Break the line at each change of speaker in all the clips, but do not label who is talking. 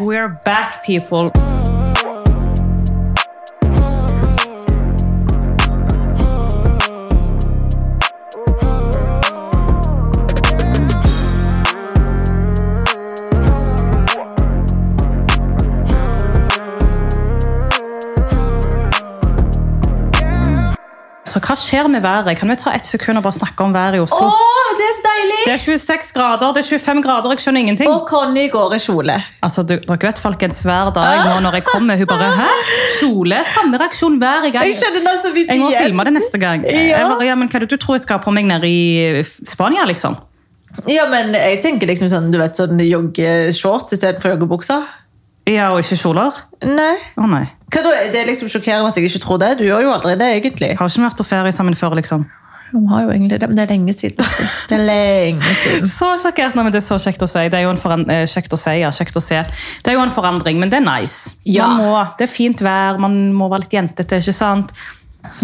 We're back, people. Så hva skjer med været? Kan vi ta ett sekund og bare snakke om været i Oslo?
Åh, det er så deilig!
Det er 26 grader, det er 25 grader, jeg skjønner ingenting.
Og Conny går i kjole.
Altså, du, dere vet folkens, hver dag
Ah.
nå når jeg kommer, hun bare Hæ? Kjole? Samme reaksjon hver gang.
Jeg skjønner nå så vidt
Jeg må
igjen.
filme det neste gang.
Ja.
Jeg bare, ja, men Hva er det du tror jeg skal ha på meg nede i Spania, liksom?
Ja, men jeg tenker liksom sånn, du vet, sånn joggeshorts i stedet for joggebuksa.
Ja, og ikke kjoler?
Nei.
Å nei.
Hva da? Det er liksom sjokkerende at jeg ikke tror det. Du gjør jo aldri det, egentlig.
Har ikke vi vært på ferie sammen før, liksom.
Hun har jo egentlig det, men det er lenge siden. vet du. Det er lenge siden.
Så sjokkert. Nei, men det er så kjekt å si. Det er jo en foran- eh, kjekt å si, ja. Kjekt å se. Det er jo en forandring, men det er nice.
Ja.
Man må, det er fint vær, man må være litt jentete, ikke sant?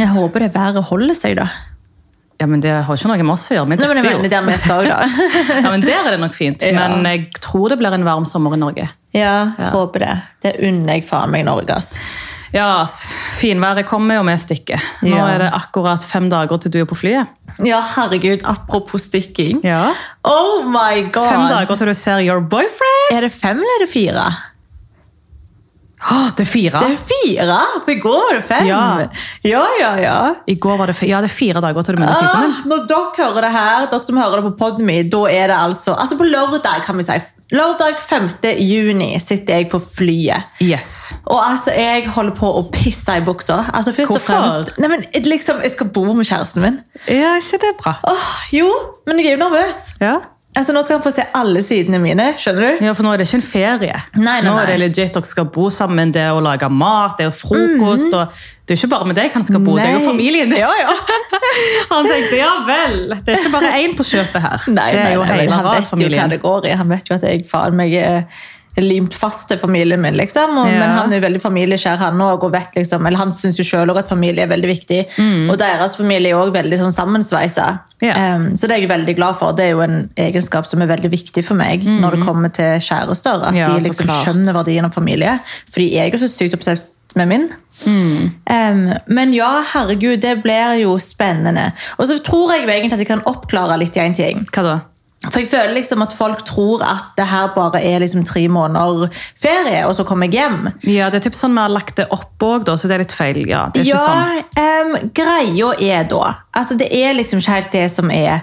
Jeg håper det været holder seg, da.
Ja, men det har ikke noe med oss å gjøre. Vi
Nei, men jeg
dytter jo.
mener der vi skal, da.
ja, men der er det nok fint.
Ja.
Men jeg tror det blir en varm sommer i Norge.
Ja, håper det. Det unner jeg faen meg Norge, ass.
Ja, ass. finværet kommer, og vi stikker. Nå
Ja.
er det akkurat fem dager til du er på flyet.
Ja, herregud, apropos stikking.
Ja.
Oh my god!
Fem dager til du ser your boyfriend!
Er det fem eller er det fire?
Åh, det er fire!
Det er fire! For i går var det fem.
Ja.
ja, ja. ja.
I går var det, fe- ja, det er fire dager til du møter typen din.
Ah, når dere hører det her, dere som hører det på Podme, da er det altså Altså på lørdag, kan vi si. Lørdag 5. juni sitter jeg på flyet.
Yes.
Og altså, jeg holder på å pisse i buksa. Altså, først og
Hvorfor?
fremst, nei, men, liksom, jeg skal bo med kjæresten min.
Ja, ikke det bra?
Åh, jo, men jeg er jo nervøs.
Ja.
Altså, Nå skal han få se alle sidene mine. skjønner du?
ja, for nå er det ikke en ferie.
Nei, nei,
nå er det
nei.
legit, dere skal bo sammen, det er å lage mat, det er jo frokost, og det er ikke bare med deg han skal bo, det er jo
Mhm. Nei.
familien din.
Ja, ja.
Han tenkte, ja vel, det er ikke bare én på kjøpet her.
Nei,
det er
nei,
jo
nei, men
hele
han vet jo hva
radfamilien.
det går i. Han vet jo at jeg faen meg er limt fast til familien min, liksom. Og,
Ja.
Men han er jo veldig familieskjær, han òg, og vet liksom Eller han syns jo sjøl òg at familie er veldig viktig. Og deres familie er òg veldig sånn sammensveisa.
Mm. Ja.
Em, så det er jeg veldig glad for. Det er jo en egenskap som er veldig viktig for meg når det kommer til kjærester. At
Mm. Ja, så
de liksom
klart.
skjønner verdien av familie. Fordi jeg er så sykt obsess med min.
Mm.
Em, men ja, herregud, det blir jo spennende. Og så tror jeg jo egentlig at jeg kan oppklare litt i en ting.
Hva da?
For jeg føler liksom at folk tror at det her bare er liksom tre måneder ferie, og så kommer jeg hjem.
Ja, det er typ sånn vi har lagt det opp òg, så det er litt feil. Ja, det er ikke
ja,
sånn.
em, greia er da Altså, det er liksom ikke helt det som er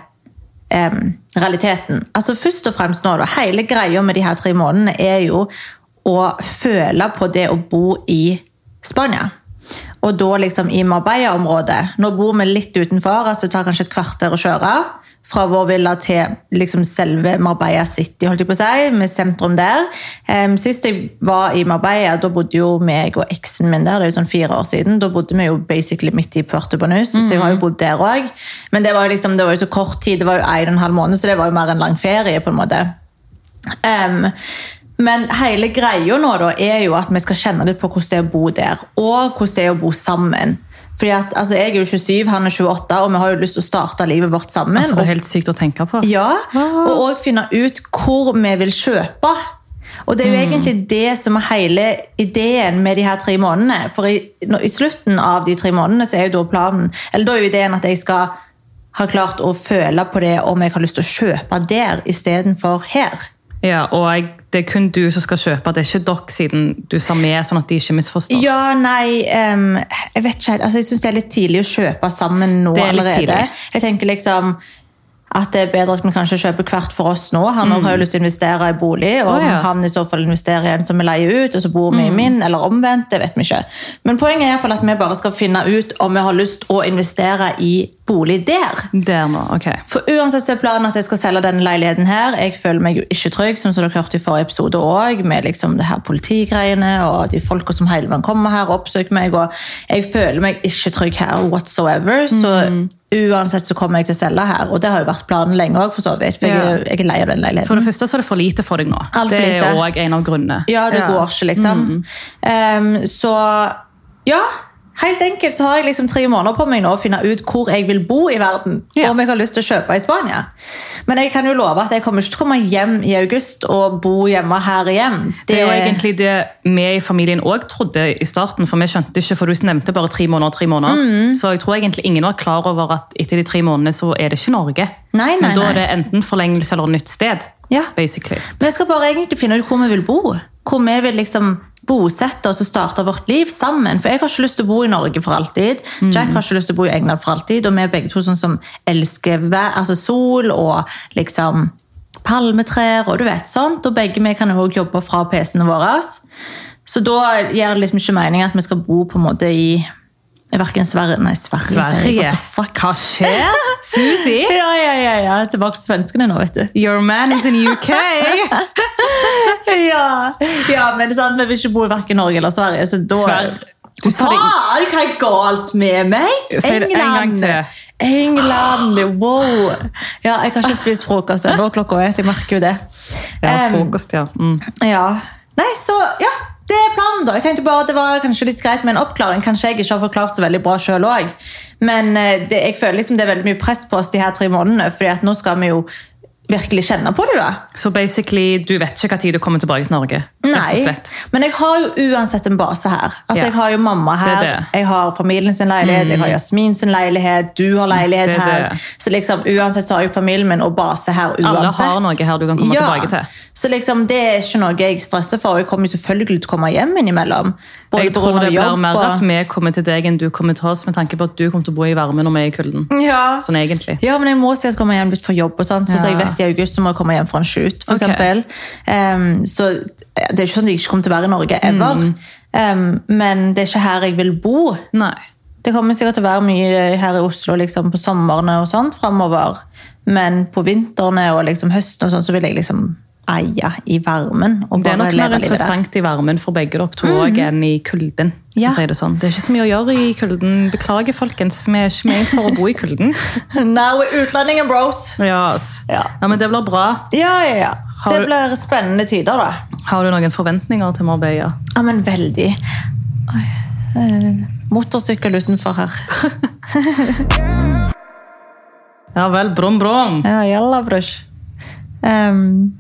em, realiteten. Altså, først og fremst nå, da. Hele greia med de her tre månedene er jo å føle på det å bo i Spania. Og da liksom i Marbella-området. Nå bor vi litt utenfor, altså det tar kanskje et kvarter å kjøre. Fra vår villa til liksom selve Marbella City, holdt jeg på å si, med sentrum der. Em, sist jeg var i Marbella, da bodde jo meg og eksen min der, det er jo sånn fire år siden. Da bodde vi jo basically midt i Puerto Banús, så jeg har jo bodd der òg. Men det var jo liksom, det var jo så kort tid, det var jo en og en halv måned, så det var jo mer en lang ferie, på en måte. Em, men hele greia nå da er jo at vi skal kjenne litt på hvordan det er å bo der, og hvordan det er å bo sammen. Fordi at, altså, Jeg er jo 27, han er 28, og vi har jo lyst til å starte livet vårt sammen.
Altså, det
og
er helt sykt å tenke på.
ja, og òg finne ut hvor vi vil kjøpe. Og det er jo egentlig det som er hele ideen med de her tre månedene. For i, nå- i slutten av de tre månedene så er jo da planen Eller da er jo ideen at jeg skal ha klart å føle på det om jeg har lyst til å kjøpe der istedenfor her.
Ja, og jeg, det er kun du som skal kjøpe, det er ikke dere siden du sa med, sånn at de ikke misforstår.
Ja, nei em, Jeg vet ikke helt. Altså, jeg syns det er litt tidlig å kjøpe sammen nå
Det er litt
allerede.
tidlig.
Jeg tenker liksom at det er bedre at vi kanskje kjøper hvert for oss nå. Han har jo lyst til å investere i bolig, og
Mm. Å, ja. Mm.
han i så fall investerer i en som vi leier ut, og så bor vi i min, eller omvendt. Det vet vi ikke. Men poenget er i hvert fall at vi bare skal finne ut om vi har lyst å investere i bolig der.
Der nå, ok.
For uansett så er planen at jeg skal selge denne leiligheten her. Jeg føler meg jo ikke trygg, sånn som dere hørte i forrige episode også, med liksom det her politigreiene og de folka som hele veien kommer her og oppsøker meg. Og jeg føler meg ikke trygg her whatsoever. Så uansett så kommer jeg til å selge her. Og det har jo vært planen lenge òg, for så vidt. For jeg, er- jeg er lei av den leiligheten.
For det første så er det for lite for deg nå.
Mm. Alt for
det er
lite.
òg en av grunnene. Mm.
Ja, det går ikke, liksom. Ehm, så ja. Helt enkelt så har jeg liksom tre måneder på meg nå å finne ut hvor jeg vil bo i verden.
Ja.
og Om jeg har lyst til å kjøpe i Spania. Men jeg kan jo love at jeg kommer ikke til å komme hjem i august og bo hjemme her igjen.
Det er jo egentlig det vi i familien òg trodde i starten, for vi skjønte ikke, for du nevnte bare tre måneder, tre måneder.
Mm.
Så jeg tror egentlig ingen var klar over at etter de tre månedene så er det ikke Norge.
Nei, nei,
Men da
nei.
er det enten forlengelse eller nytt sted.
Ja.
Basically.
Men jeg skal bare egentlig finne ut hvor vi vil bo. Hvor vi vil liksom bosette oss og starte vårt liv sammen. For jeg har ikke lyst til å bo i Norge for alltid. Jack har ikke lyst til å bo i England for alltid. Og vi er begge to sånn som elsker vær, altså sol og liksom palmetrær og du vet sånt. Og begge vi kan jo også jobbe fra PC-ene våre. Så da gir det liksom ikke mening at vi skal bo på en måte i Verken Sverige Nei, Sverige. sier jeg.
Sverige.
What the fuck?
Hva skjer? Susi?
Ja, ja, ja, ja. Tilbake til svenskene nå, vet du.
Your man is in UK.
Ja, ja men det er sant, vi vil ikke bo i hverken Norge eller Sverige, så da
Sverige. Du sa det-
Faen, hva er galt med meg?
Si det en gang til.
England, wow. Ja, jeg har ikke spist frokost ennå, klokka er ett, jeg merker jo det.
Ja,
Em,
frokost, ja. Mm.
ja. Nei, så ja, det er planen, da. Jeg tenkte bare at Det var kanskje litt greit med en oppklaring. Kanskje jeg ikke har forklart så veldig bra sjøl òg. Men eh, det, jeg føler liksom det er veldig mye press på oss de her tre månedene, fordi at nå skal vi jo virkelig kjenne på det. da.
Så basically, du vet ikke hva tid du kommer tilbake til Norge. Rett og
Nei,
slett.
men jeg har jo uansett en base her. Altså,
Ja.
Jeg har jo mamma her,
Det er det.
jeg har familien sin leilighet, jeg har Jasmin sin leilighet, du har leilighet
Det er
her.
det.
Så liksom, uansett så har jeg familien min og base her uansett.
Alle har noe her du kan komme
ja.
tilbake til.
Så liksom, det er ikke noe jeg stresser for, og jeg kommer jo selvfølgelig til å komme hjem innimellom. Både
Jeg
på
tror
grunn av
det blir
jobb
mer
og-
at vi kommer til deg enn du kommer til oss, med tanke på at du kommer til å bo i varmen og vi er i kulden.
Ja.
Sånn egentlig.
Ja, men jeg må sikkert komme hjem litt for jobb og sånt, så,
Ja.
så jeg vet i august så må jeg komme hjem fra en shoot, for
Ok.
eksempel. Em, så det er ikke sånn at jeg ikke kommer til å være i Norge, ever.
Mm.
Em, men det er ikke her jeg vil bo.
Nei.
Det kommer sikkert til å være mye her i Oslo liksom, på sommerne og sånt fremover. Men på vintrene og liksom, høsten og sånn, så vil jeg liksom eie i varmen. Og
Det er
bare
nok mer
leve livet der. Mhm.
interessant i varmen for begge dere to også enn i kulden. for å
Ja.
Si det, sånn. det er ikke så mye å gjøre i kulden. Beklager, folkens. Vi er ikke med for å bo i kulden.
Now we're utlendingen, bros!
Ja, ass.
Ja.
ja, men Det blir bra.
Ja, ja, ja.
Har
Det
du-
blir spennende tider, da.
Har du noen forventninger til Marbella?
Ja, men veldig. Oi, eh, Motorsykkel utenfor her.
Ja vel, brum, brum.
Ja, jalla, brors. Ehm,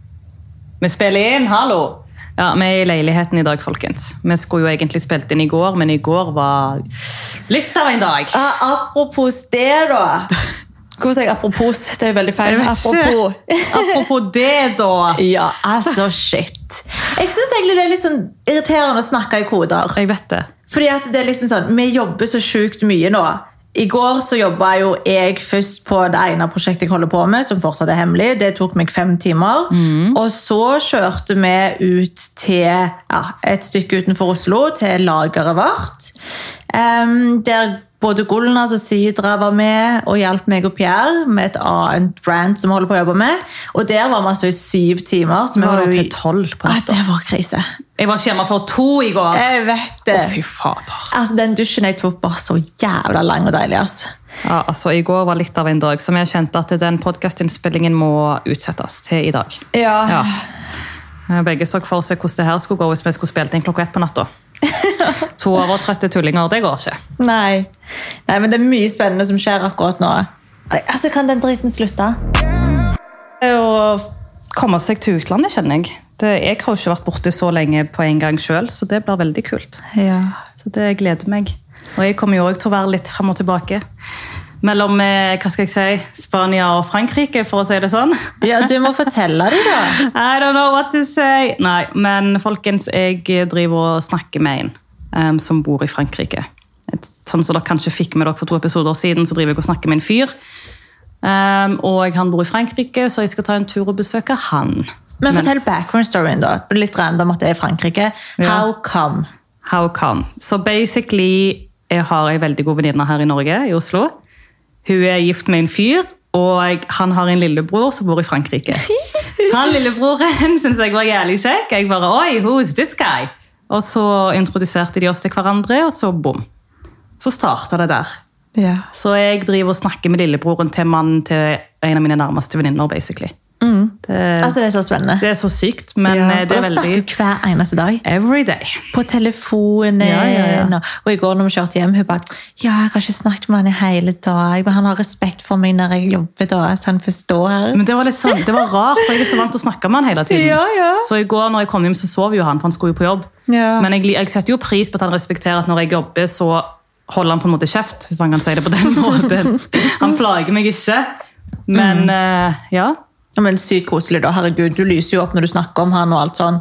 Em,
Vi spiller inn, hallo! Ja, Vi er i leiligheten i dag, folkens. Vi skulle jo egentlig spilt inn i går, men i går var litt av en dag.
ja, apropos det, da. Hvorfor sier jeg apropos? Det er jo veldig feil.
Jeg vet ikke.
Apropos.
Apropos det, da.
Ja, altså shit. Jeg syns egentlig det er litt sånn irriterende å snakke i koder.
Jeg vet det.
Fordi at det er liksom sånn, Vi jobber så sjukt mye nå. I går så jobba jo jeg først på det ene prosjektet jeg holder på med, som fortsatt er hemmelig. Det tok meg fem timer.
Mm.
Og så kjørte vi ut til ja, et stykke utenfor Oslo, til lageret vårt. Em, der både Gulnas og Sidra var med og hjalp meg og Pierre med et annet brand som vi holder på å jobbe med. Og der var vi altså i syv timer. Så vi
Vi var jo
var jo
til
i
tolv på
Ah,
natta.
det var krise.
Jeg var ikke hjemme før to i går.
Jeg vet
Å,
det.
fy fader.
Altså, Den dusjen jeg tok, var så jævla lang og deilig. altså.
Ja, altså I går var litt av en dag, så vi kjente at den podkastinnspillingen må utsettes til i dag. Ja. Begge så for seg hvordan det her skulle gå hvis vi skulle spilt inn klokka ett på natta. To overtrøtte tullinger, det går ikke.
Nei. Nei, men det er mye spennende som skjer akkurat nå. Altså, Kan den driten slutte?
Det Å Eh, komme seg til utlandet, kjenner jeg. Det, jeg har jo ikke vært borte så lenge på en gang sjøl, så det blir veldig kult.
Ja.
Så det gleder meg. Og jeg kommer jo òg til å være litt frem og tilbake. Mellom eh, hva skal jeg si, Spania og Frankrike, for å si det sånn.
du må fortelle dem, da.
I don't know what to say. Nei, men folkens, jeg driver og snakker med en em, som bor i Frankrike. Et, sånn som dere kanskje fikk med dere for to episoder siden, så driver jeg og snakker med en fyr. Em, og han bor i Frankrike, så jeg skal ta en tur og besøke han.
Men fortell
Mens-
background storyen, da. For det er Litt random at det er i Frankrike. How come?
How come? Så basically, jeg har en veldig god venninne her i Norge, i Oslo. Hun er gift med en fyr, og han har en lillebror som bor i Frankrike. Han lillebroren syntes jeg var jævlig kjekk. Jeg bare, oi, who's this guy? Og så introduserte de oss til hverandre, og så bom. Så startet det der.
Ja.
Så jeg driver og snakker med lillebroren til mannen til en av mine nærmeste venninner, basically. Det,
Altså, det er så spennende.
det er så sykt, men
Ja,
eh, det
og de
er
snakker
veldig
jo hver eneste dag.
every day.
På telefonen.
Ja, ja, ja.
Og, og i går når vi kjørte hjem, hun bare Ja, jeg har ikke snakket med han i hele dag, men han har respekt for meg når jeg jobber, da, så han forstår.
Men det var litt sånn, det var rart, for jeg er så vant til å snakke med han hele tiden.
Ja, ja.
Så i går når jeg kom hjem, så sov jo han, for han skulle jo på jobb.
Ja.
Men jeg, li- jeg setter jo pris på at han respekterer at når jeg jobber, så holder han på en måte kjeft, hvis man kan si det på den måten. Han plager meg ikke. Men
Mm.
eh, ja.
Ja, men Sykt koselig, da. Herregud, du lyser jo opp når du snakker om han og alt sånn.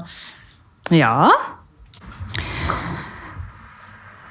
Ja.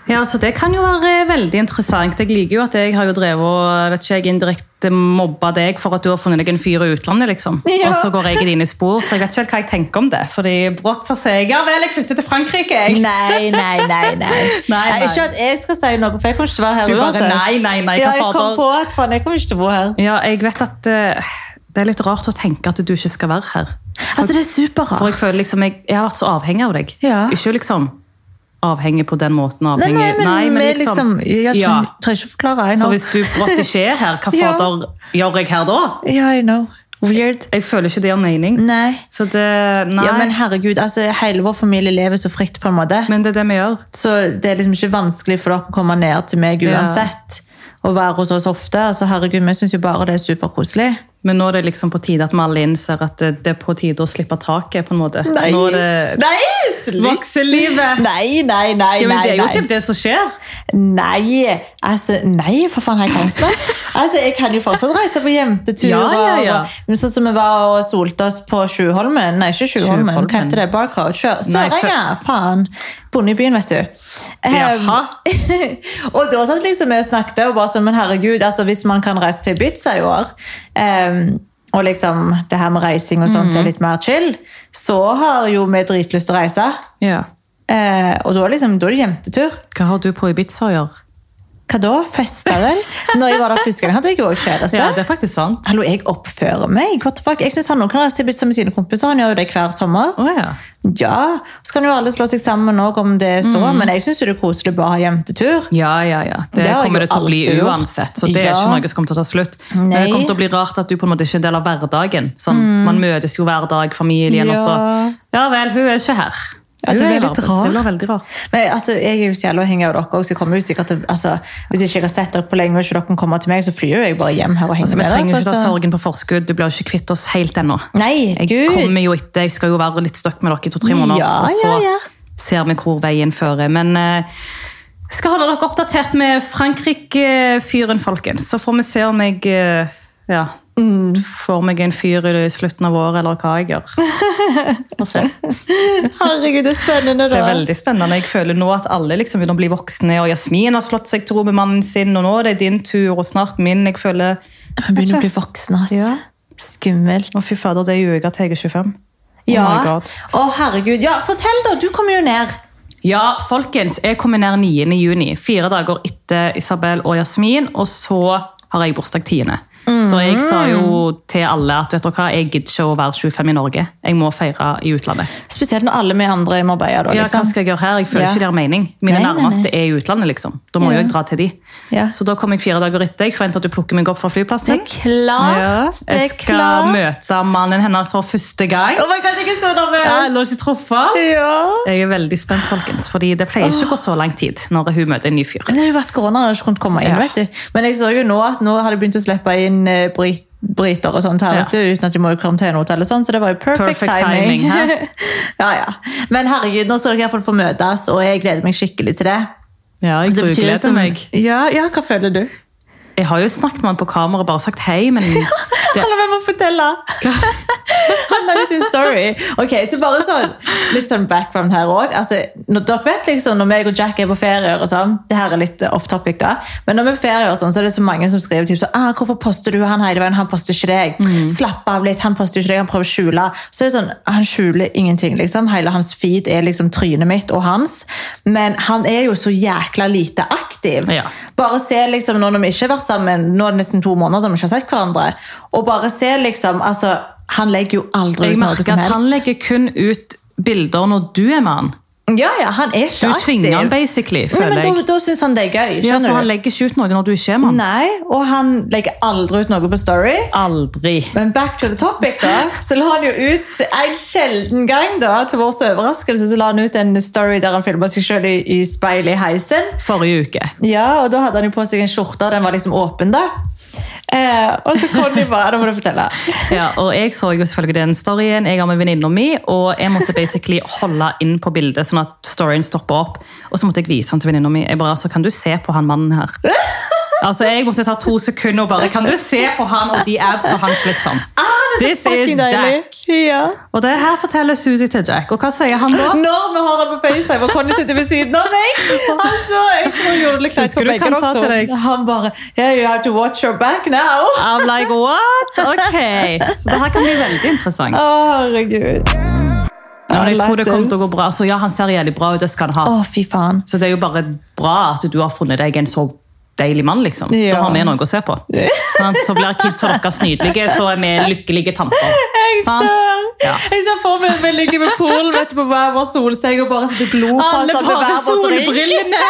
Ja, så Det kan jo være veldig interessant. Jeg liker jo at jeg har jo drevet og vet ikke, jeg indirekte mobba deg for at du har funnet deg en fyr i utlandet. liksom.
Ja.
Og så går jeg i dine spor, så jeg vet ikke helt hva jeg tenker om det. Fordi brått så sier jeg ja vel, jeg flytter til Frankrike. jeg.
Nei, nei, nei. nei.
Nei, nei.
Ikke at jeg skal si noe, for jeg kommer ikke til å være her
Du bare, nei, nei, nei, hva
ja, jeg kom
fader?
på at faen, jeg kommer ikke til å bo her.
Ja, jeg vet at eh, Det er litt rart å tenke at du ikke skal være her.
Altså, det er
For jeg
superrart.
føler liksom, jeg, jeg har vært så avhengig av deg.
Ja.
Ikke liksom avhengig på den måten.
Nei,
avhengig.
nei, men, vi liksom, Jeg
ja.
trenger, trenger ikke å forklare. I
Så
know.
hvis du brått ikke er her, hva
Ja.
fader gjør jeg her da?
Ja, I know. Weird.
Jeg føler ikke det har mening.
Nei.
Så det, nei.
Ja, men
men,
herregud, altså, hele vår familie lever så fritt, på en måte.
det er det vi gjør.
Så det er liksom ikke vanskelig for dere å komme ned til meg
Ja.
uansett. Og være hos oss ofte. Altså, herregud, vi syns jo bare det er superkoselig.
Men nå er det liksom på tide at vi alle innser at det, det er på tide å slippe taket, på en måte. Nå er det
Nei, slutt!
vokselivet!
Nei, nei, nei,
eh, Ja, men det
nei.
er jo
nei.
typ det som skjer.
Nei, altså, nei, for faen har jeg angst nå? Altså, jeg kan jo fortsatt reise på jenteturer.
Ja, ja, ja.
og- Men sånn som vi var og solte oss på Sjuholmen, nei, ikke Sjuholmen,
Sjuholmen.
hva heter det, Barcode? Sjø-
Nei,
Sørenga, faen. Bonde i byen, vet du.
Jaha.
Ehm, og da satt liksom jeg og snakket, og bare sånn, men herregud, altså, hvis man kan reise til Ibiza i år, ehm, og liksom, det her med reising og sånt
Mhm.
er litt mer chill, så har jo vi dritlyst til å reise.
Ja.
Eh, og da, liksom, da er det jentetur.
Hva har du på Ibiza å gjøre?
Hva da? Festa vel? Når jeg var der første gang, hadde jeg jo også kjæreste.
Ja, det er faktisk sant.
Hallo, jeg oppfører meg. What the fuck? Jeg synes han også kan reise til Ibiza med sine kompiser. Han gjør jo det hver sommer.
Å ja.
Ja, Så kan jo alle slå seg sammen også om det er så,
Mm.
men jeg syns det er koselig å bare ha jentetur.
Ja, ja, ja. Det,
Det har jeg
kommer
jo
det til å bli
alltid gjort.
uansett. Så det er
Ja.
ikke noe som kommer til å ta slutt. Men det
Nei. Mm.
kommer til å bli rart at du på en måte ikke er en del av hverdagen. Sånn, Man møtes jo hver dag, familien, og
Ja.
så Ja vel, hun er ikke her.
Ja, det
Hun er
blir
i
litt
arbeid.
rart.
Det blir veldig rart.
Men altså, Jeg er jo så jævla avhengig av dere også, så jeg kommer jo sikkert til, altså, Hvis ikke jeg har sett dere på lenge, og ikke dere kommer til meg, så flyr jo jeg bare hjem her og henger
Så vi
med
trenger jo
dere.
ikke ta
altså.
sorgen på forskudd. Du blir jo ikke kvitt oss helt ennå.
Nei,
Jeg
gud!
kommer jo etter, jeg skal jo være litt støkk med dere i to-tre måneder.
Ja,
og så
ja, ja.
ser vi hvor veien fører. Men eh, jeg skal holde dere oppdatert med Frankrike-fyren, folkens. Så får vi se om jeg eh, ja,
Mm.
får meg en fyr i slutten av året, eller hva jeg gjør. Får se.
Herregud, det er
Det
spennende, da.
er veldig spennende. Jeg føler nå at alle liksom begynner å bli voksne, og Jasmin har slått seg til ro med mannen sin, og nå er det din tur, og snart min. Jeg føler
Man begynner å bli voksen, ass.
Ja.
Skummelt.
Å, fy fader, det er jo jeg at jeg er 25. Oh
Ja.
my god.
Å, herregud. Ja, fortell, da! Du kommer jo ned.
Ja, folkens, jeg kommer ned 9. juni, fire dager etter Isabel og Jasmin, og så har jeg bursdag 10. Så jeg sa jo til alle at vet dere hva, jeg gidder ikke å være 25 i Norge. Jeg må feire i utlandet.
Spesielt når alle vi andre må arbeide. Da,
Ja, hva
liksom.
skal jeg gjøre her? Jeg føler
Ja.
ikke det har mening. Mine
Nei, nei, nei.
nærmeste er i utlandet, liksom. Da må
Ja.
jo jeg dra til de.
Ja.
Så da kom jeg fire dager etter. Jeg forventer at du plukker meg opp fra
Det
flyplassen.
er klart! det
Jeg
er
skal
klart.
møte mannen hennes for første gang.
Oh my god, jeg er så
Jeg
nervøs!
lå ikke truffet.
Ja.
Jeg er veldig spent, folkens, fordi det pleier ikke å gå så lang tid når hun møter en ny fyr.
Det har jo vært korona, jeg har ikke kunnet komme inn.
Ja.
vet du. Men jeg så jo nå at nå har de begynt å slippe inn eh, brit briter og sånt her,
Ja.
vet du, uten at de må i karantenehotell. og sånn, Så det var jo perfect,
Perfect
timing.
timing,
ja, ja. Men herregud, nå skal dere iallfall få møtes, og jeg gleder meg skikkelig til det.
Ja, jeg
Det betyr jo
grugleder
som-
meg.
Ja, ja, hva føler du?
Jeg har jo snakket med han på kamera og bare sagt hei, men det,
Eller hvem må fortelle? Han la ut en story. Ok, så bare sånn, Litt sånn background her òg. Altså, når dere vet liksom, når meg og Jack er på ferier og sånn, det her er litt eh, off topic da, men når vi er på ferier og sånn, så er det så mange som skriver typ sånn ah, 'Hvorfor poster du han hele veien? Han poster ikke deg.' 'Slapp av litt, han poster ikke deg, han prøver å skjule.' Så er det sånn, Han skjuler ingenting, liksom. Hele hans feed er liksom trynet mitt og hans. Men han er jo så jækla lite aktiv.
Ja.
Bare se liksom, nå når vi ikke har vært sammen, nå er det nesten to måneder vi ikke har sett hverandre, og bare se liksom, altså, han legger jo aldri
jeg
ut noe
merker
som
at han
helst.
legger kun ut bilder når du er med han.
Ja, ja, han er
Du
ikke aktiv.
tvinger han basically,
Nei,
føler
men da,
jeg.
da syns han det er gøy.
Ja,
skjønner
for han
du?
legger ikke ut noe når du er skjemaen.
Nei, og han legger aldri ut noe på Story.
Aldri.
Men back to the topic, da. Så la han jo ut en sjelden gang, da, til vår overraskelse, så la han ut en story der han filma seg sjøl i, i speilet i heisen.
Forrige uke.
Ja, og da hadde han jo på seg en skjorte, og den var liksom åpen, da. Eh, og så Conny bare Da må du fortelle.
Ja, og jeg så jo selvfølgelig den storyen jeg har med venninna mi, og jeg måtte basically holde inn på bildet sånn at storyen stopper opp. Og så måtte jeg vise han til venninna mi. Jeg bare, altså, kan du se på han mannen her? Altså, jeg måtte ta to sekunder og bare, kan du se på han og de abs og hans liksom?
Ah,
This is
Fucking deilig.
Jack.
Ja.
Og det her forteller Susie til Jack, og hva sier han da?
Når vi har han på FaceTime, og Conny sitter ved siden av meg! Altså, jeg tror juleklær
Husker du hva han sa til deg?
Han bare yeah, You have to watch your back now!
I'm like, what? Ok. Så det her kan bli veldig interessant.
Å, herregud.
Ja, men jeg tror det kommer til å gå bra. Altså, ja, han ser jævlig bra ut, det skal han ha.
Å, fy faen.
Så det er jo bare bra at du har funnet deg en så deilig mann, liksom.
Ja.
Da har vi noe å se på. Sant? Så blir kidsa deres nydelige, så er vi lykkelige tanter.
Jeg
Sant?
dør!
Ja.
Jeg ser for meg vi ligger ved pool vet du, på hver vår solseng og bare sitter og glor på
Alle
oss med
bare
hver vår drink.
solbrillene!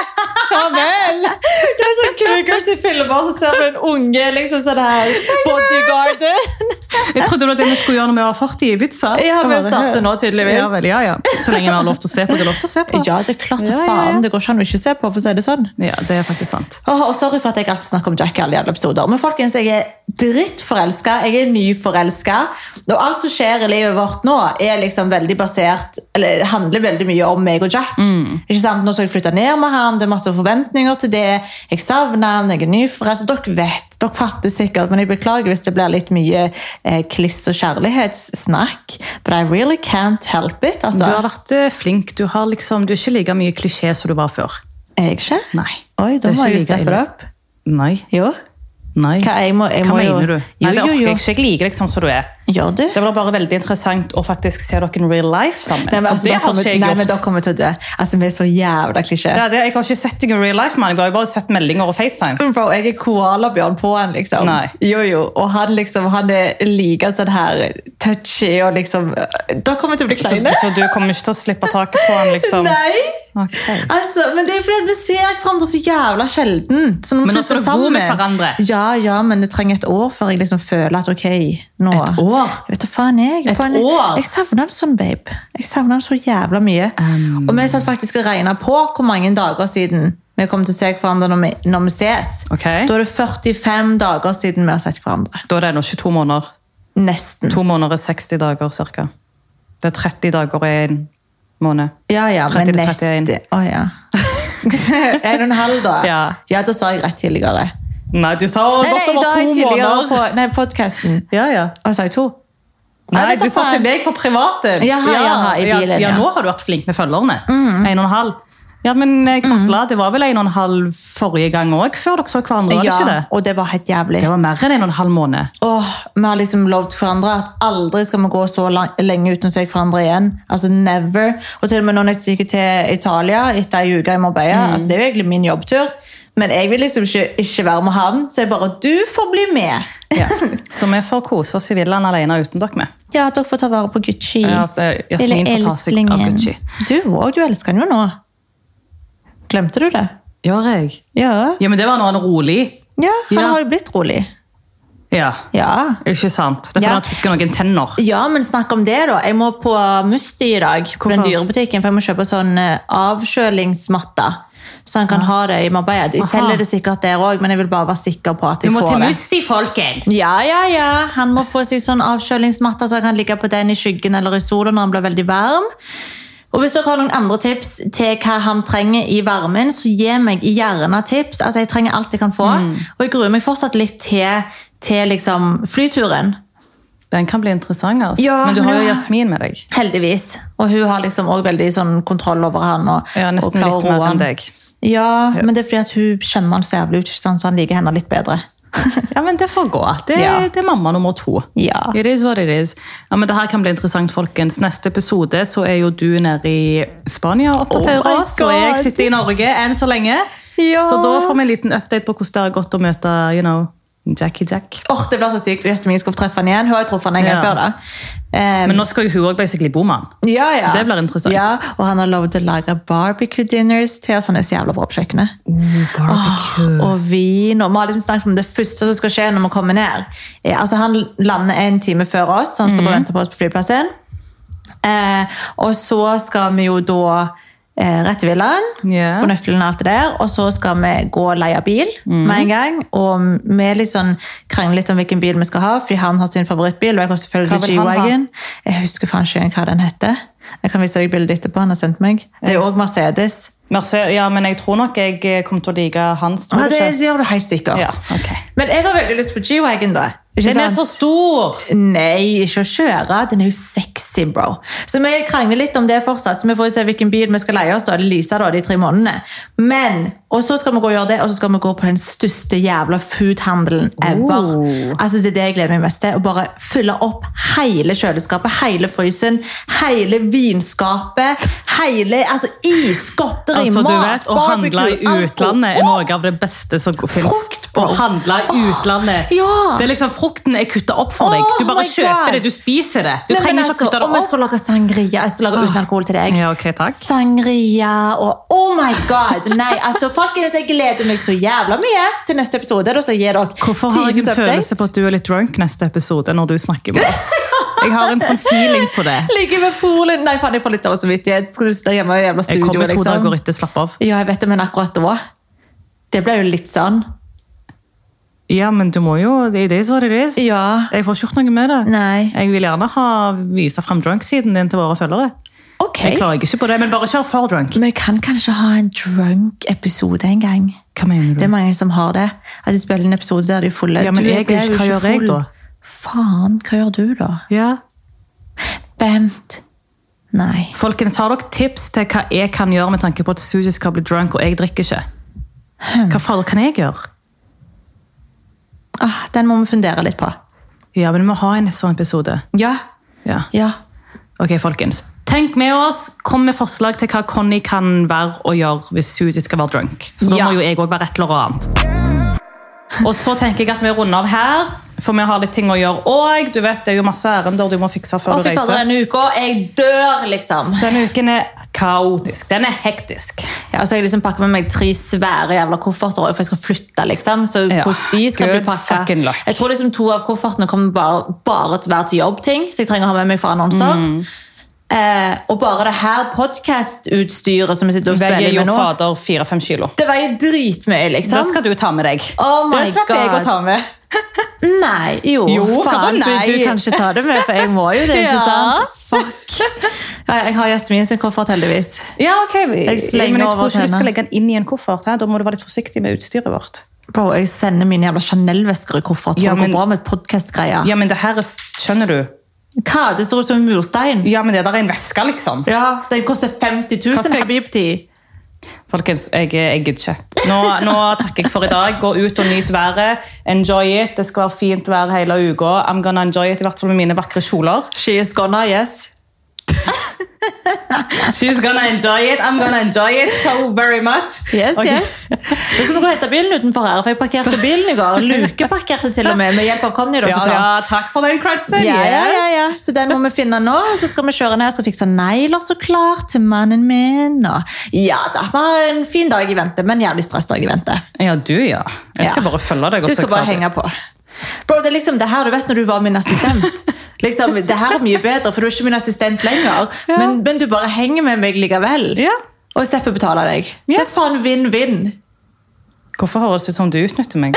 Ja vel! Det er sånn cougars i filmer, så ser du en unge liksom sånn her bodyguarden.
Jeg trodde det var det vi skulle gjøre når vi var 40 i Ibiza.
Ja, vi starter nå, tydeligvis.
Ja, vel, ja, ja. Så lenge vi har lov til å se på. Det er lov til å se på.
Ja, det er klart
Ja,
for
ja, ja.
faen. Det går ikke an å ikke se på, for å si det sånn.
Ja, det er faktisk sant.
Åh, og Sorry for at jeg alltid snakker om Jack i alle jævla episoder. Men folkens, jeg er drittforelska. Jeg er nyforelska. Og alt som skjer i livet vårt nå, er liksom veldig basert Eller handler veldig mye om meg og Jack.
Mm.
Ikke sant? Nå skal jeg flytte ned med han, det er masse forventninger til det. Jeg savner han, jeg er nyforelska. Dere vet, dere fatter sikkert, men jeg beklager hvis det blir litt mye eh, kliss og kjærlighetssnakk. But I really can't help it,
Du
altså.
har vært eh, flink. Du, har liksom, du er ikke like mye klisjé som du var før.
Er jeg ikke?
Nei.
Oi, da
Det er
må
ikke
jeg jo
like
steppe det
ille.
opp.
Nei.
Jo.
Nei.
Hva, jeg må, jeg
Hva
må jo-
mener du? Nei, det
Jo,
orker
jo,
jeg
jo.
ikke. Jeg liker deg sånn som du er.
Gjør du?
Det var bare veldig interessant å faktisk se dere in real life sammen.
Nei, men,
for
altså,
det
dere
har
kommer,
ikke jeg
nei,
gjort.
men dere kommer til å dø. Altså, vi er så jævla klisjé.
Det er det. Jeg har ikke sett deg i real life, mann. Jeg har jo bare sett meldinger og FaceTime.
Bro, jeg er koalabjørn på han, liksom.
Nei.
Jo, jo. Og han, liksom, han er like sånn her touchy og liksom Dere kommer til å bli
Så,
kleine.
så du kommer ikke til å slippe taket på han, liksom?
Nei!
Ok.
Altså, men det er fordi at vi ser hverandre så jævla sjelden. Så når vi
Men nå
først er
skal dere bo med
sammen-
hverandre.
Ja, ja, men det trenger et år før jeg liksom føler at ok, nå
Et år?
Jeg vet da faen, jeg.
Et
faen,
år?
Jeg, jeg savner han sånn, babe. Jeg savner han så jævla mye.
Um.
Og vi satt faktisk og regna på hvor mange dager siden vi kom til å se hverandre når vi, når vi ses.
Ok.
Da er det 45 dager siden vi har sett hverandre.
Da er det nå ikke to måneder.
Nesten.
To måneder er 60 dager, cirka. Det er 30 dager og en måned.
Ja, ja, men
30,
neste
31.
Å ja. En og en halv, da.
Ja.
da sa jeg rett tidligere.
Nei, du sa å, godt
da
over
er jeg
to
tidligere
måneder.
på nei, podkasten.
Ja, ja.
Å, sa jeg to?
Nei,
vet
du
da
sa
faen.
til meg på privaten.
Jaha, jaha, i
ja,
bilen,
ja, Mm.
ja.
nå har du vært flink med følgerne. En og en halv. Ja, men eh, Katla, det var vel en og en halv forrige gang òg, før dere så hverandre? var
Ja,
det ikke det?
og det var helt jævlig.
Det var mer enn en og en halv måned.
Åh, vi har liksom lovt hverandre at aldri skal vi gå så lang, lenge uten å se hverandre igjen. Altså never. Og til og med når jeg stikker til Italia etter ei uke i Marbella, altså det er jo egentlig min jobbtur, men jeg vil liksom ikke, ikke være med han, så jeg bare Du får bli med!
Ja. Så vi får kose oss i villaen alene uten dere med.
Ja, dere får ta vare på Gucci.
Ja, altså, det- Jasmin får ta seg av Gucci.
Du òg, du elsker han jo nå. Glemte du det?
Gjør jeg?
Ja.
Ja, men det var nå han er rolig.
Ja, han
Ja.
har jo blitt rolig.
Ja.
Ja.
Ikke sant? Det er fordi
Ja.
han har trukket noen tenner.
Ja, men snakk om det, da. Jeg må på Musti i dag. På den
Hvorfor?
dyrebutikken, for jeg må kjøpe sånn eh, avkjølingsmatte. Så han kan ha det i Marbella. De
Aha.
selger det sikkert der òg, men jeg vil bare være sikker på at
Du
jeg
må til
får det.
Musti, folkens!
Ja, ja, ja. Han må få seg sånn avkjølingsmatte, så han kan ligge på den i skyggen eller i sola når han blir veldig varm. Og hvis dere har noen andre tips til hva han trenger i varmen, så gi meg gjerne tips. Altså, jeg trenger alt jeg kan få.
Mm.
Og jeg gruer meg fortsatt litt til, til liksom flyturen.
Den kan bli interessant, altså.
Ja,
men du har jo
ja.
Jasmin med deg.
Heldigvis. Og hun har liksom også veldig sånn kontroll over han. Og,
Ja,
og
Nesten
klarer
litt
å roe
mer
han.
enn deg.
Ja, men det er fordi at hun skjemmer han så jævlig ut, ikke sant? så han liker henne litt bedre.
Ja, men det får gå. Det,
Ja.
det er mamma nummer to.
Ja.
It is what it is. Ja, men det her kan bli interessant, folkens. Neste episode så er jo du nede i Spania og oppdaterer
Oh my
oss, og jeg
God.
sitter i Norge enn så lenge.
Ja.
Så da får vi en liten update på hvordan det har gått å møte you know, Jackie Jack.
Åh, Det blir så sykt hvis vi skal treffe han igjen. Hun har jo truffet han en gang
Ja.
før. da. Ehm,
Men nå skal jo hun òg basically bo med han.
ja, ja.
Så det blir interessant.
Ja, og han har lovet å lage barbecue dinners til oss. Han er jo så jævla bra på kjøkkenet. Åh, og vin og Vi har liksom snakket om det første som skal skje når vi kommer ned. Eh, altså Han lander en time før oss, så han skal
Mhm.
bare vente på oss på flyplassen. Eh, og så skal vi jo da eh, rett til villaen,
Ja.
få nøkkelen og alt det der. Og så skal vi gå og leie bil
Mhm.
med en gang. Og vi er litt sånn, krangler litt om hvilken bil vi skal ha, fordi han har sin favorittbil. og jeg har
Hva
selvfølgelig
vil han ha?
G-Wagon. Jeg husker faen ikke hva den heter. Jeg kan vise deg bildet etterpå. han har sendt meg. Det er òg Mercedes.
Merce- ja, men jeg tror nok jeg kommer til å like hans. Tror du
Ja, det
ikke?
gjør du helt sikkert.
Ja, ok.
Men jeg har veldig lyst på G-Wagon, da. Ikke
Den er
sant?
så stor!
Nei, ikke å kjøre. Den er jo sexy, bro. Så vi krangler litt om det fortsatt, så vi får se hvilken bil vi skal leie oss. da, eller Lisa da, de tre månedene. Men, Og så skal vi gå og gjøre det, og så skal vi gå på den største jævla foodhandelen ever.
Oh.
Altså, Det er det jeg gleder meg mest til. Å bare fylle opp hele kjøleskapet, hele frysen, hele vinskapet, hele altså, isgodteri,
Altså, du vet,
mat,
Å handle i
alkohol.
utlandet er
Åh!
noe av det beste som fins.
Frukt,
Å
bro.
handle i
Åh,
utlandet.
ja.
Det er liksom Frukten er kutta opp for deg.
Åh,
Du bare
my God.
kjøper det, du spiser det. Du
Nei, men
trenger ikke å
altså,
kutte
Om
det
jeg
opp. Ah.
skulle lage sangria Jeg skal lage uten alkohol til deg.
Ja, ok, takk.
Sangria og Oh my god! Nei, altså, folkens, jeg gleder meg så jævla mye til neste episode. Da skal jeg gi dere
Hvorfor har jeg en
tidens update.
følelse på at du er litt drunk neste episode når du snakker med oss? Jeg har en sånn feeling på det.
Ligger ved poolen. Nei, faen, jeg får litt dårlig samvittighet. Skal du sitte der hjemme i jævla
Jeg
studio,
kommer to
liksom?
dager etter, slapp av.
Ja, jeg vet det, men akkurat da Det ble jo litt sånn.
Ja, men du må jo Det er det som er det. er.
Ja.
Jeg får ikke gjort noe med det.
Nei.
Jeg vil gjerne ha vise frem drunk-siden din til våre følgere.
Ok.
Jeg klarer ikke på det, men bare kjør for drunk.
Vi kan kanskje ha en drunk-episode en gang.
Hva mener
Det
du?
er mange som har det. At de spiller en episode der de er fulle.
Ja, men
Du,
jeg er
ble
ikke-
jo
hva gjør jeg
full.
da?
Faen, hva gjør du da?
Ja.
Vent. Nei.
Folkens, har dere tips til hva jeg kan gjøre med tanke på at Susie skal bli drunk, og jeg drikker ikke?
Hmm.
Hva fader kan jeg gjøre?
Ah, den må vi fundere litt på.
Ja, men vi må ha en sånn episode.
Ja.
Ja.
Ja.
Ok, folkens. Tenk med oss. Kom med forslag til hva Conny kan være og gjøre hvis Susie skal være drunk. For da
Ja.
må jo jeg òg være et eller annet. Og så tenker jeg at vi runder av her, for vi har litt ting å gjøre òg. Du vet, det er jo masse ærender du må fikse før
Å,
du
fy fader,
reiser.
denne uka. Jeg dør, liksom.
Denne uken er kaotisk. Den er hektisk.
Ja, og så har jeg liksom pakket med meg tre svære jævla kofferter, også, for jeg skal flytte, liksom. Så
Ja.
hvordan de skal
Good
bli pakket.
fucking luck.
Jeg tror liksom to av koffertene kommer bare, bare til å være til jobbting, så jeg trenger å ha med meg for annonser.
Mm.
Eh, og bare det her podcast-utstyret som jeg sitter og
Veier
spiller
jo
med nå,
fader fire-fem kilo.
det veier dritmye,
Det
liksom.
skal du ta med deg.
Oh my
det slipper jeg å
God.
ta med.
Nei, jo,
Jo,
faen,
hva da?
for du
Nei.
kan ikke ta det med, for jeg må jo det,
Ja.
ikke sant? Fuck. Ja, jeg har Jasmin sin koffert, heldigvis.
Ja, ok. Men jeg
slenger
tror
over til
ikke du
henne.
skal legge den inn i en koffert. Her. Da må du være litt forsiktig med utstyret vårt.
Bro, jeg sender mine jævla Chanel-vesker i koffert, for
Ja,
det
men-
går bra med podcast-greier.
Ja, men det her er Skjønner du?
Hva? Det ser ut som en murstein.
Ja, men det der er en veske, liksom.
Ja, den koster 50
Hva
000,
skal jeg-
Habibti.
Folkens, jeg, eh, jeg gidder ikke. Nå, nå takker jeg for i dag. Gå ut og nyt været. Enjoy it. Det skal være fint vær hele uka. I'm gonna enjoy it, i hvert fall med mine vakre kjoler.
She is gonna, yes.
She's gonna enjoy it. I'm gonna enjoy it so very much.
Yes,
Ok.
yes. Nå skal vi gå og hente bilen utenfor her, for jeg parkerte bilen i går. Lukeparkerte til og med, med hjelp av Conny da,
Ja,
så klart.
ja, takk for den kretsen.
Ja, ja,
yes.
ja, ja. Så den må vi finne nå. og Så skal vi kjøre ned og skal fikse negler så klart til mannen min. Og ja da, vi har en fin dag i vente, men en jævlig stressdag i vente.
Ja, du, ja. Jeg skal
Ja.
bare følge deg. og
Du
så
skal bare
klare det.
henge på. Bro, det er liksom det her du vet når du var min assistent. Liksom, det her er mye bedre, for du er ikke min assistent lenger. Men, men du bare henger med meg likevel.
Ja.
Og jeg slipper å betale deg.
Ja.
Det er faen vinn-vinn.
Hvorfor høres det ut som du utnytter meg?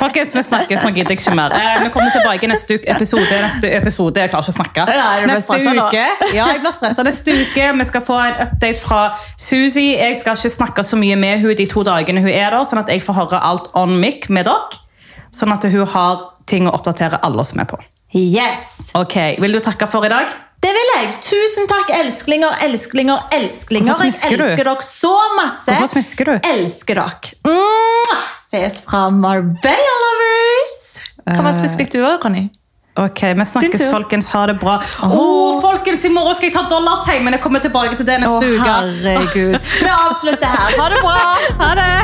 Folkens, vi snakkes, nå gidder jeg ikke mer. Eh, vi kommer tilbake i neste uke, episode. Neste episode, Jeg klarer ikke å snakke.
Ja, jeg blir
neste
stresset nå.
uke, ja, jeg blir stresset neste uke. Vi skal få en update fra Suzy. Jeg skal ikke snakke så mye med henne de to dagene hun er der, sånn at jeg får høre alt on mic med dere. Sånn at hun har ting å oppdatere alle oss med på.
Yes!
Ok, Vil du takke for i dag?
Det vil jeg. Tusen takk, elsklinger, elsklinger, elsklinger.
Hvorfor
Jeg
smisker du?
elsker dere så masse.
Hvorfor smisker du?
Elsker dere. Mwah! Ses fra Marbella Lovers! Hva var spesifikt du var, Conny?
Ok, Vi snakkes,
tur.
folkens. Ha det bra. Åh, folkens, I morgen skal jeg ta dollartegn, men jeg kommer tilbake til det neste uke.
herregud. Vi avslutter her. Ha det bra!
Ha det!